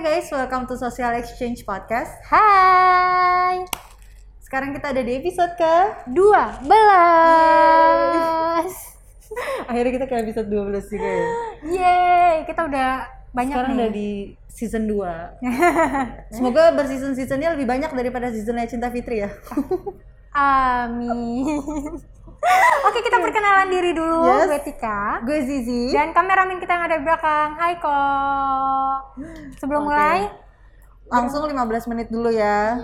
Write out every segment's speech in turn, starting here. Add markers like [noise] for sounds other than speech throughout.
guys, welcome to Social Exchange Podcast. Hai, Sekarang kita ada di episode ke 12 Akhirnya kita ke episode 12 juga ya. Yeay, kita udah banyak Sekarang nih. udah di season 2. [laughs] Semoga berseason-seasonnya lebih banyak daripada seasonnya Cinta Fitri [laughs] ya. [laughs] Amin Oke, kita perkenalan diri dulu, Yes. gue Tika Gue Zizi. Dan kameramen kita yang ada di belakang, hai Ko Sebelum Oke. mulai Langsung 15 menit dulu ya.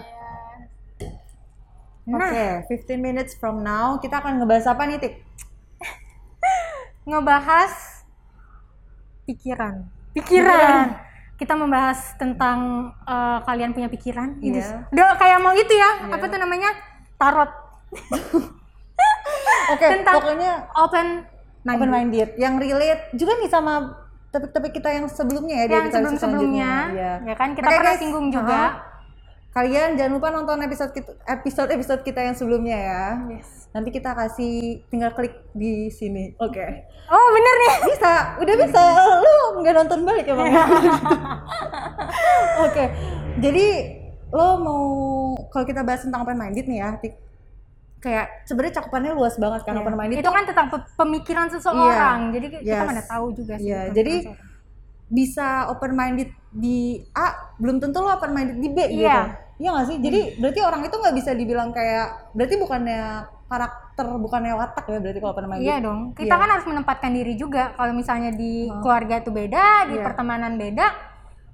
Nah. Oke, 15 minutes from now kita akan ngebahas apa nih, Tik? ngebahas pikiran Pikiran. Pikiran kita membahas tentang eh, kalian punya pikiran gitu. Iya. Udah kayak mau itu ya, apa tuh namanya? Tarot Oke, Tentang- pokoknya open mind. open minded yang relate juga nih sama topik-topik kita yang sebelumnya ya di yang episode sebelum-sebelumnya selanjutnya. Iya. ya kan kita Makanya pernah guys, singgung ha-ha. juga kalian jangan lupa nonton episode kita, episode episode kita yang sebelumnya ya Yes. nanti kita kasih tinggal klik di sini oke oh bener nih bisa udah bisa lu nggak nonton balik ya bang [laughs] oke jadi lo mau kalau kita bahas tentang open minded nih ya Tik, kayak sebenarnya cakupannya luas banget kan Iya. open minded itu kan tentang pe- pemikiran seseorang jadi kita Yes. mana tahu juga sih Iya, tentang jadi seseorang. bisa open minded di A belum tentu lo open minded di B Iya. Hmm. gitu iya nggak sih jadi berarti orang itu nggak bisa dibilang kayak berarti bukannya karakter bukannya watak ya berarti kalau open minded iya dong kita Iya. kan harus menempatkan diri juga kalau misalnya di Oh. keluarga itu beda di Iya. pertemanan beda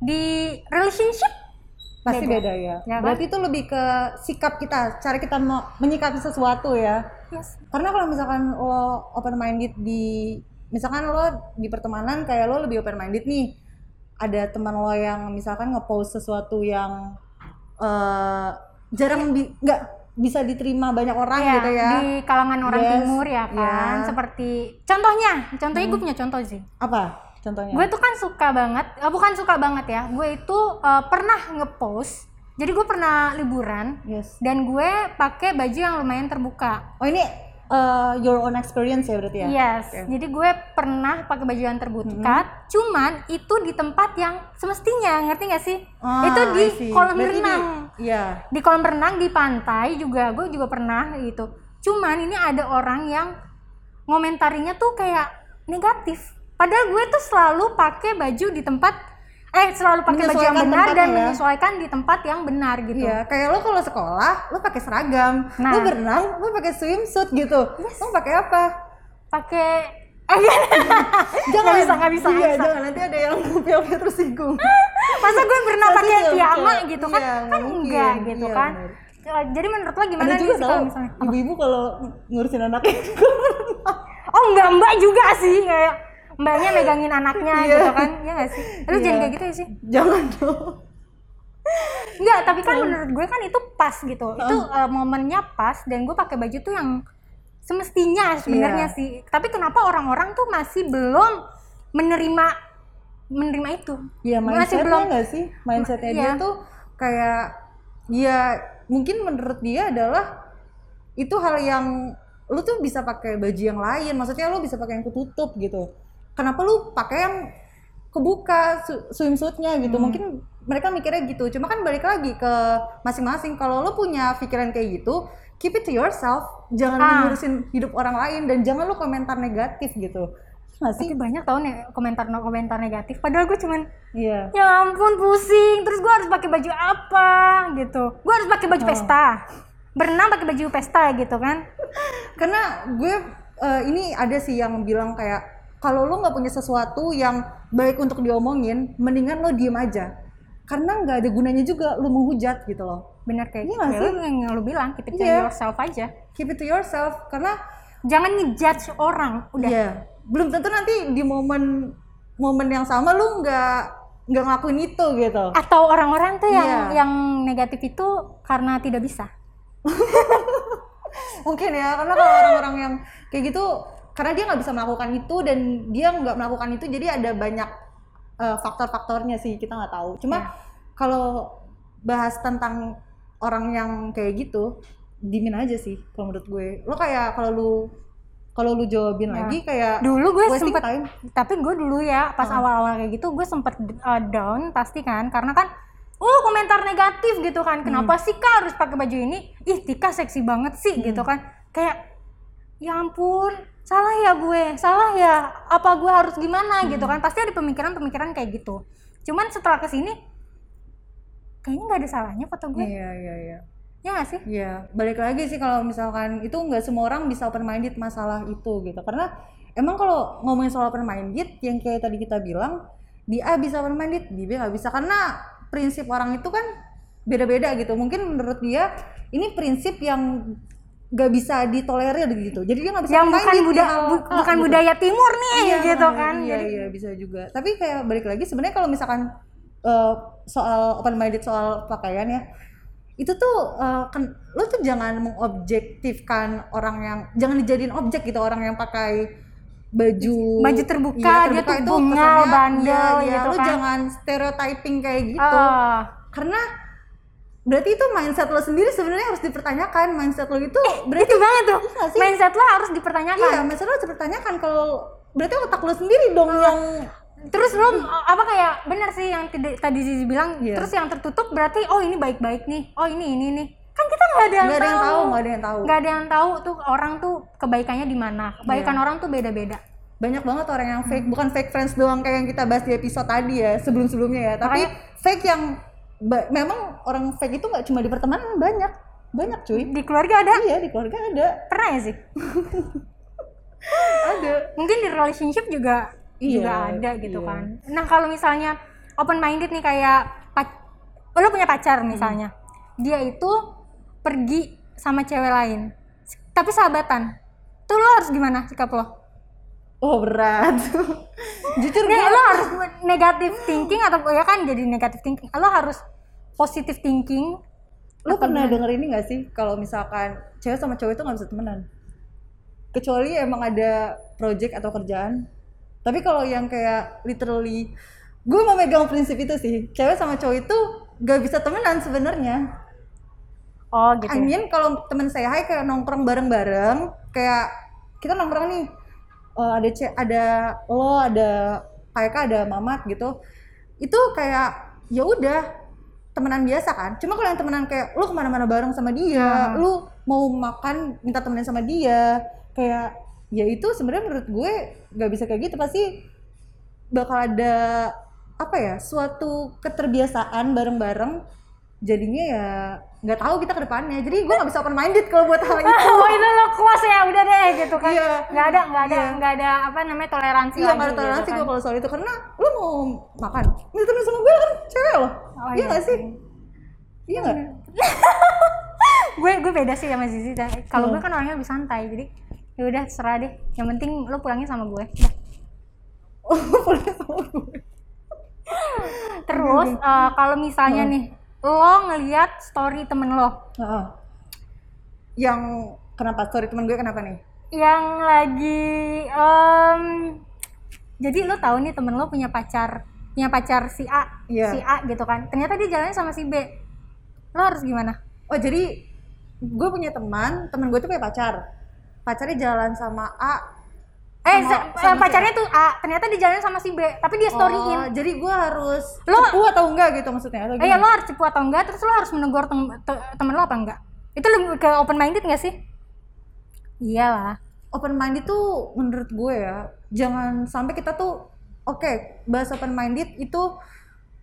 di relationship pasti beda. beda, ya, Ya kan? berarti itu lebih ke sikap kita cara kita me- menyikapi sesuatu ya yes. karena kalau misalkan lo open minded di misalkan lo di pertemanan kayak lo lebih open minded nih ada teman lo yang misalkan ngepost sesuatu yang eh, jarang bi- nggak bisa diterima banyak orang Iya, gitu ya di kalangan orang Yes. timur ya kan Iya. seperti contohnya contohnya gue punya contoh sih apa contohnya Gue tuh kan suka banget, eh, bukan suka banget ya. Gue itu eh, pernah ngepost. Jadi gue pernah liburan yes dan gue pakai baju yang lumayan terbuka. oh ini eh, your own experience ya berarti ya Yes. Oke. Mm-hmm. Jadi gue pernah pakai baju yang terbuka. Cuman itu di tempat yang semestinya, ngerti gak sih? Ah, itu di I see. kolam Berarti di- renang. iya Di kolam renang di pantai juga gue juga pernah gitu. Cuman ini ada orang yang ngomentarinya tuh kayak negatif. Padahal gue tuh selalu pakai baju di tempat eh selalu pakai baju yang Menyesuaikan benar tempatnya dan ya. menyesuaikan di tempat yang benar gitu. Iya, kayak lo kalau sekolah, lo pakai seragam, Nah. lo berenang, lo pakai swimsuit gitu. Lo pakai apa? Pakai [laughs] eh Jangan bisa, nggak bisa, Iya, nggak bisa. jangan nanti ada yang [laughs] pil-pil terus singgung. masa gue pernah Pasti pakai nggak piyama betul. gitu kan? Iya, kan nggak enggak mungkin. gitu Iya, kan. benar. Eh, Jadi menurut lo gimana ada nih juga sih tau kalau misalnya? ibu-ibu kalau ngurusin anaknya. Oh enggak mbak juga sih kayak mbaknya megangin anaknya [laughs] Iya. gitu kan? Iya gak sih? Lu jadi Iya. kayak gitu ya sih? jangan dong. Enggak, tapi Iya. kan menurut gue kan itu pas gitu. Itu uh, momennya pas dan gue pakai baju tuh yang semestinya sebenarnya Iya. sih. Tapi kenapa orang-orang tuh masih belum menerima menerima itu? Iya, Gue masih mindsetnya belum. nggak sih? Mindsetnya Iya. dia tuh kayak, ya mungkin menurut dia adalah itu hal yang lu tuh bisa pakai baju yang lain. Maksudnya lu bisa pakai yang ketutup gitu. Kenapa lu pakai yang kebuka su- swimsuitnya gitu? Hmm. Mungkin mereka mikirnya gitu. Cuma kan balik lagi ke masing-masing. Kalau lu punya pikiran kayak gitu, keep it to yourself. Jangan lu Ah. ngurusin hidup orang lain dan jangan lu komentar negatif gitu. Nggak sih? Tapi banyak tau nih komentar-komentar negatif. Padahal gue cuman Iya. ya ampun pusing. Terus gue harus pakai baju apa gitu? Gue harus pakai Oh. baju pesta. Berenang pakai baju pesta gitu kan? karena gue eh, ini ada sih yang bilang kayak kalau lo nggak punya sesuatu yang baik untuk diomongin mendingan lo diem aja karena nggak ada gunanya juga lo menghujat gitu loh Bener Iya kayak gitu. nggak Ya, sih? lu- yang lu bilang, keep it to Iya. yourself aja. keep it to yourself karena Jangan ngejudge orang. Udah ya belum tentu nanti di momen momen yang sama lo nggak nggak ngakuin itu gitu atau orang-orang tuh yang Iya. yang negatif itu karena tidak bisa mungkin ya karena kalau orang-orang yang kayak gitu karena dia nggak bisa melakukan itu dan dia nggak melakukan itu jadi ada banyak eh, faktor-faktornya sih kita nggak tahu cuma Ya. kalau bahas tentang orang yang kayak gitu dimin aja sih kalau menurut gue lo kayak kalau lu kalau lu jawabin lagi kayak dulu gue wasting sempet time. tapi gue dulu ya pas Ah. awal-awal kayak gitu gue sempet uh, down pasti kan karena kan uh komentar negatif gitu Hmm. kan kenapa sih kak harus pakai baju ini ih Tika seksi banget Hmm. sih gitu kan kayak ya ampun salah ya gue salah ya apa gue harus gimana Hmm. gitu kan pasti ada pemikiran-pemikiran kayak gitu cuman setelah kesini kayaknya nggak ada salahnya foto gue Iya iya iya. ya nggak sih Iya, balik lagi sih kalau misalkan itu nggak semua orang bisa open minded masalah itu gitu. Karena emang kalau ngomongin soal open minded yang kayak tadi kita bilang di A bisa open minded, di B nggak bisa karena prinsip orang itu kan beda-beda gitu. Mungkin menurut dia ini prinsip yang nggak bisa ditolerir gitu. Jadi dia nggak bisa yang open bukan minded di buda- hal bu- A, bukan gitu. budaya timur nih Iya, gitu kan Iya, Jadi- iya bisa juga. Tapi kayak balik lagi sebenarnya kalau misalkan eh, soal open minded soal pakaian ya, itu tuh eh, ken- lu tuh jangan mengobjektifkan orang yang jangan dijadiin objek gitu orang yang pakai baju Iya, Iya, Baju terbuka, dia tuh itu bungal, kesannya, bandel iya, iya, gitu lu kan. jangan stereotyping kayak gitu Ah. karena berarti itu mindset lo sendiri sebenarnya harus dipertanyakan mindset lo itu itu banget tuh Iya nggak sih? mindset lo harus dipertanyakan iya mindset lo harus dipertanyakan kalau berarti otak lo sendiri dong Ah. yang terus lo apa kayak bener sih yang tidak- tadi Zizi bilang Iya. terus yang tertutup berarti oh ini baik-baik nih oh ini ini nih kan kita nggak ada yang nggak ada yang tahu tahu nggak ada yang tahu nggak ada yang tahu tuh orang tuh kebaikannya di mana kebaikan Iya. orang tuh beda-beda banyak banget orang yang fake bukan fake friends doang kayak yang kita bahas di episode tadi ya sebelum sebelumnya ya tapi fake yang ba- memang orang fake itu nggak cuma di pertemanan banyak banyak cuy di keluarga ada iya di keluarga ada pernah ya sih ada mungkin di relationship juga Iya, juga ada gitu iya. kan nah kalau misalnya open minded nih kayak pac- lo punya pacar Hmm. misalnya dia itu pergi sama cewek lain tapi sahabatan tuh lo harus gimana sikap lo oh [laughs] berat jujur Nih, lo harus negatif thinking atau ya kan jadi negatif thinking lo harus positif thinking lu pernah denger ini nggak sih kalau misalkan cewek sama cowok itu nggak bisa temenan kecuali emang ada project atau kerjaan tapi kalau yang kayak literally gue memegang prinsip itu sih cewek sama cowok itu nggak bisa temenan sebenarnya oh gitu I mean kalau temen saya hai kayak nongkrong bareng-bareng, kayak kita nongkrong nih eh, ada ce ada lo, ada Pak Eka, ada Mamat gitu. Itu kayak ya udah temenan biasa kan. Cuma kalau yang temenan kayak lu kemana-mana bareng sama dia, Hmm. lu mau makan minta temenin sama dia, kayak ya itu sebenarnya menurut gue nggak bisa kayak gitu pasti bakal ada apa ya suatu keterbiasaan bareng-bareng jadinya ya nggak tahu kita ke depannya jadi gue nggak bisa open minded kalau buat hal [laughs] itu [laughs] oh itu lo close ya udah deh gitu kan Iya. nggak ada nggak ada Iya. nggak ada apa namanya toleransi iya lagi nggak ada gitu toleransi kan. gue kalau soal itu karena lu mau makan minta temen sama gue kan cewek lo Oh, iya iya nggak sih iya nggak gue gue beda sih sama Zizi Zai. Iya. kalau gue kan orangnya lebih santai jadi ya udah serah deh yang penting lo pulangnya sama gue Dah. oh [laughs] boleh sama gue terus Iya, eh, kalau misalnya nih lo ngelihat story temen lo Heeh. yang kenapa sorry teman gue kenapa nih yang lagi em, jadi lo tahu nih temen lo punya pacar punya pacar si A Iya. si A gitu kan ternyata dia jalannya sama si B lo harus gimana oh jadi gue punya teman teman gue tuh punya pacar pacarnya jalan sama A eh Sama- sa- eh, sama si pacarnya tuh A ternyata dia jalannya sama si B tapi dia storyin Oh, jadi gue harus Lo- cepu atau enggak gitu maksudnya? Atau Eh, ya gimana? lo harus cepu atau enggak, terus lo harus menegur tem- te- temen lo apa enggak? Itu lebih ke open minded enggak sih? Iyalah. Open minded tuh menurut gue ya, jangan sampai kita tuh oke bahas open minded itu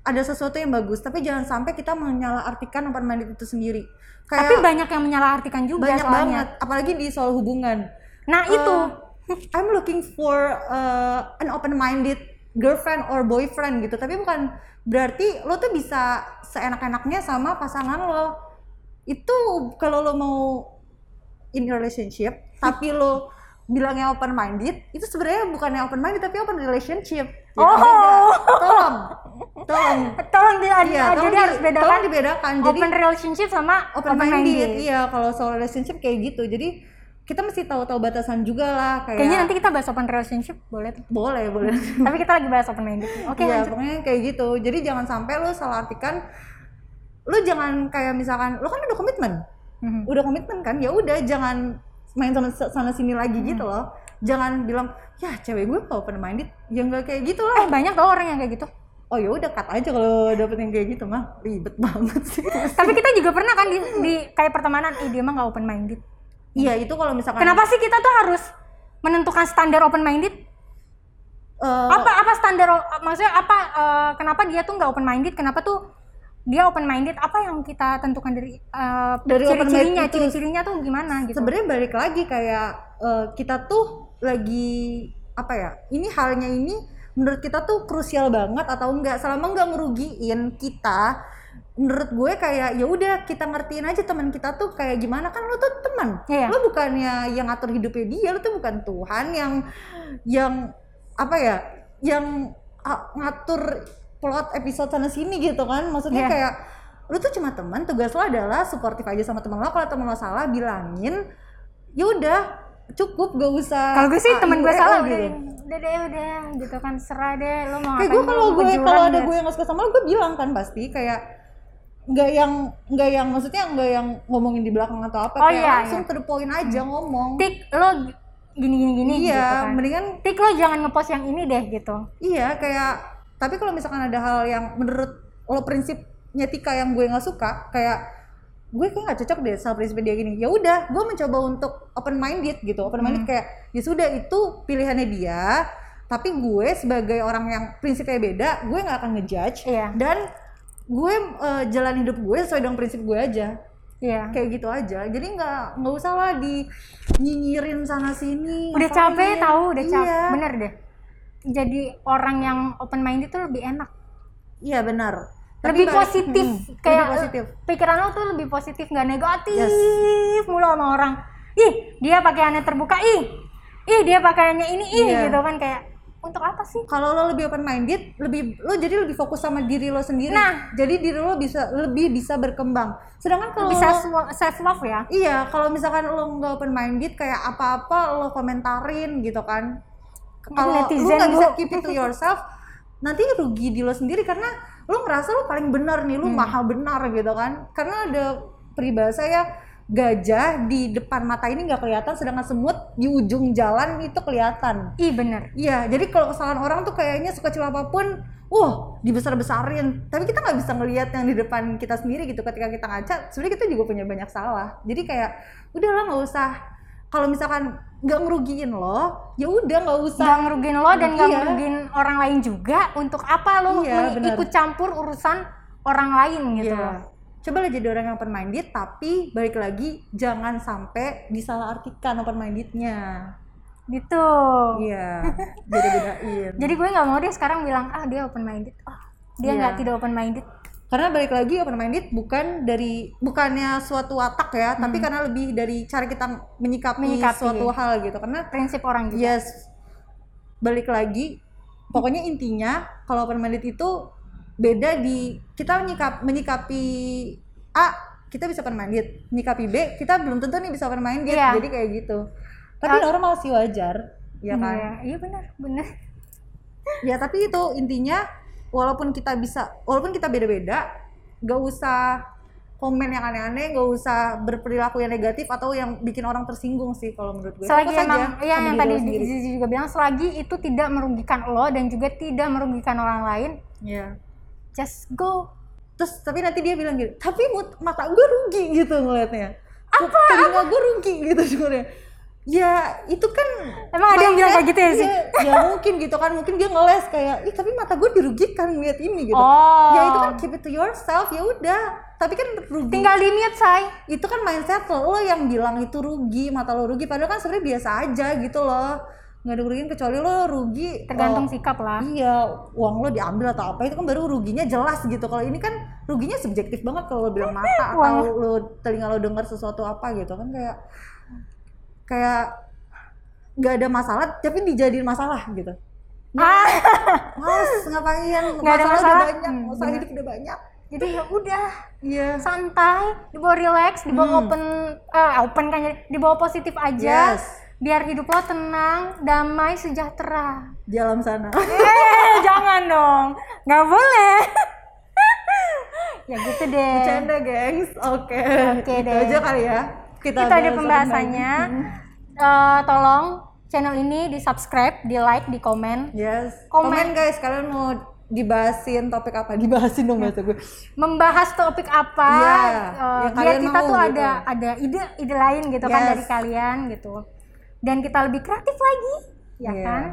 ada sesuatu yang bagus, tapi jangan sampai kita menyalahartikan open minded itu sendiri. Tapi Kayak banyak yang menyalahartikan juga banyak soalnya. banget, apalagi di soal hubungan. Nah, itu. Uh, Ah. [laughs] I'm looking for uh, an open-minded girlfriend or boyfriend gitu. Tapi bukan berarti lo tuh bisa seenak-enaknya sama pasangan lo. Itu kalau lo mau in [laughs] relationship, tapi lo bilangnya open-minded, itu sebenarnya bukannya open-minded tapi open relationship. Ya, Oh. beda. Tolong, [laughs] tolong. Tolong di Iya, ah, tolong jadi di- harus bedakan tolong dibedakan. Jadi open relationship sama open minded iya kalau soal relationship kayak gitu jadi kita mesti tahu-tahu batasan juga lah kayak Kayaknya nanti kita bahas open [laughs] relationship boleh tuh. boleh boleh Tapi kita lagi bahas open minded. [laughs] Oke, Iya, lanjut. pokoknya kayak gitu jadi jangan sampai lo salah artikan lo jangan kayak misalkan lo kan udah komitmen Mhm. Hmm. udah komitmen kan ya udah jangan main sama sana sini lagi gitu loh jangan bilang ya cewek gue kalau open minded ya nggak kayak gitu lah eh banyak tau orang yang kayak gitu oh ya udah cut aja kalau dapet yang kayak gitu mah ribet banget sih [laughs] tapi kita juga pernah kan di, di- kayak pertemanan ih dia mah nggak open minded iya itu kalau misalkan kenapa sih kita tuh harus menentukan standar open minded eh, apa apa standar maksudnya apa eh, kenapa dia tuh nggak open minded kenapa tuh dia open minded apa yang kita tentukan dari eh, Dari ciri-cirinya open-minded itu. ciri-cirinya tuh gimana gitu sebenarnya balik lagi kayak eh, kita tuh lagi apa ya ini halnya ini menurut kita tuh krusial banget atau enggak selama enggak ngerugiin kita menurut gue kayak ya udah kita ngertiin aja teman kita tuh kayak gimana kan lu tuh teman Iya. lu bukannya yang ngatur hidupnya dia lu tuh bukan Tuhan yang yang apa ya yang ah, ngatur plot episode sana sini gitu kan maksudnya Iya. kayak lu tuh cuma teman tugas lo adalah supportive aja sama teman lo kalau teman lo salah bilangin yaudah cukup gak usah kalau gue sih A, temen I, gue E, O salah gitu. udah udah deh udah gitu kan serah deh lo ya?" mau kayak ngapain gue kalau lu gue kejuran kalau ada deh. gue yang gak suka sama lo gue bilang kan pasti kayak nggak yang nggak yang maksudnya nggak yang ngomongin di belakang atau apa Oh, kayak iya, langsung to the point aja ngomong tik lo gini gini gini iya gitu kan mendingan tik lo jangan ngepost yang ini deh gitu iya kayak tapi kalau misalkan ada hal yang menurut lo prinsipnya Tika yang gue nggak suka kayak gue kayak nggak cocok deh sama prinsip dia gini ya udah gue mencoba untuk open minded gitu open Hmm. minded kayak ya sudah itu pilihannya dia tapi gue sebagai orang yang prinsipnya beda gue nggak akan ngejudge Iya. dan gue eh, jalan hidup gue sesuai dengan prinsip gue aja iya kayak gitu aja jadi nggak nggak usah lah di nyinyirin sana sini udah capek ngapain. tahu udah capek Iya. bener deh jadi orang yang open minded tuh lebih enak Iya benar. Tapi lebih balik- positif Mm, kayak eh, lebih positif. pikiran lo tuh lebih positif nggak negatif mulu sama orang ih dia pakaiannya terbuka ih ih dia pakaiannya ini ih Iya. gitu kan kayak untuk apa sih Kalau lo lebih open minded, lebih lo jadi lebih fokus sama diri lo sendiri. Nah. jadi diri lo bisa lebih bisa berkembang. Sedangkan kalau bisa lo- self love ya iya, kalau misalkan lo nggak open minded, kayak apa-apa lo komentarin gitu kan. Kalau lo Netizen, nggak bisa Bu. keep it to yourself, nanti rugi di lo sendiri karena lo ngerasa lo paling benar nih, lo Hmm. maha benar gitu kan. Karena ada peribahasa ya gajah di depan mata ini nggak kelihatan, sedangkan semut di ujung jalan itu kelihatan. ih bener Iya, jadi kalau kesalahan orang tuh kayaknya sekecil apapun, wah dibesar-besarin. Tapi kita nggak bisa ngelihat yang di depan kita sendiri gitu. Ketika kita ngaca, sebenarnya kita juga punya banyak salah. Jadi kayak, udahlah nggak usah. Kalau misalkan nggak ngerugiin lo, ya udah nggak usah. nggak ngerugiin lo dan nggak Iya. ngerugiin orang lain juga untuk apa lo Iya, men- bener. ikut campur urusan orang lain gitu Iya. loh. Coba lah jadi orang yang open minded, tapi balik lagi jangan sampai disalahartikan open mindednya. gitu Iya, beda-bedain. jadi gue nggak mau dia sekarang bilang ah dia open minded ah dia Iya. nggak tidak open minded karena balik lagi open minded bukan dari bukannya suatu watak ya tapi karena lebih dari cara kita menyikapi, Hmm. Menyikapi. suatu hal gitu karena prinsip orang gitu yes balik lagi pokoknya intinya kalau open minded itu beda di kita menyikap menyikapi A kita bisa open minded menyikapi B kita belum tentu nih bisa open minded Iya. jadi kayak gitu tapi normal sih wajar ya kan Iya, iya benar, benar. ya tapi itu intinya walaupun kita bisa walaupun kita beda-beda gak usah komen yang aneh-aneh gak usah berperilaku yang negatif atau yang bikin orang tersinggung sih kalau menurut gue Selagi Fokus aja emang iya sama yang diri tadi lo sendiri. Zizi juga bilang selagi itu tidak merugikan lo dan juga tidak merugikan orang lain, Iya. just go. terus tapi nanti dia bilang gitu tapi mut- mata gue rugi [laughs] gitu ngelihatnya apa telinga gue rugi gitu sebenarnya ya itu kan Emang ada yang bilang kayak gitu ya, sih Zi? ya mungkin gitu kan mungkin dia ngeles kayak ih tapi mata gue dirugikan ngeliat ini gitu Oh. ya itu kan keep it to yourself ya udah tapi kan rugi Tinggal di mute, say. itu kan mindset lo, lo yang bilang itu rugi mata lo rugi padahal kan sebenarnya biasa aja gitu loh nggak ada rugiin kecuali lo rugi Tergantung eh, sikap lah. iya uang lo diambil atau apa itu kan baru ruginya jelas gitu kalau ini kan ruginya subjektif banget kalau lo bilang [laughs] mata atau Uang. lo telinga lo dengar sesuatu apa gitu kan kayak kayak nggak ada masalah tapi dijadiin masalah gitu Ah, [laughs] males ngapain Nggak ada masalah. udah banyak Hmm, masalah bener. hidup udah banyak jadi ya udah iya santai, dibawa relax, Hmm. dibawa open eh, open kan jadi dibawa positif aja. Yes. Biar hidup lo tenang, damai, sejahtera. jalan sana [laughs] Eh, jangan dong. nggak boleh. [laughs] ya gitu deh. Canda gengs, oke. Oke Itu deh. aja kali ya. Itu ada bahas pembahasannya. Eh, tolong channel ini di subscribe di like di komen Yes. Komen. Komen. guys, kalian mau dibahasin topik apa? [laughs] Dibahasin dong bahasa gue. membahas topik apa Iya, eh, yang biar kalian kita mau tuh gitu. ada ada ide ide lain gitu kan Yes. dari kalian gitu dan kita lebih kreatif lagi ya Iya. kan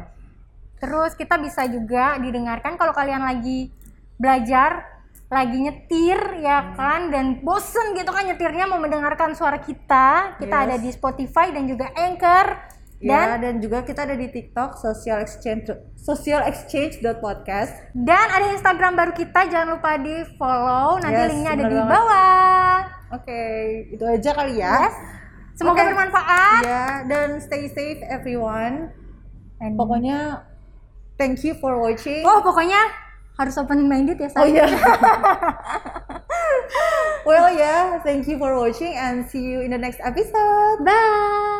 terus kita bisa juga didengarkan kalau kalian lagi belajar lagi nyetir Hmm. ya kan dan bosen gitu kan nyetirnya mau mendengarkan suara kita kita Yes. ada di Spotify dan juga Anchor dan Ya, dan juga kita ada di TikTok Social Exchange Social Exchange podcast. dan ada Instagram baru kita jangan lupa di follow nanti Yes, linknya ada bener di banget. bawah Oke, itu aja kali ya. Yes. Semoga Oke. bermanfaat. Ya, dan stay safe everyone. And- Pokoknya thank you for watching. Oh, iya. oh, pokoknya harus open minded ya, Sari. [laughs] yeah. well, yeah, thank you for watching and see you in the next episode. Bye.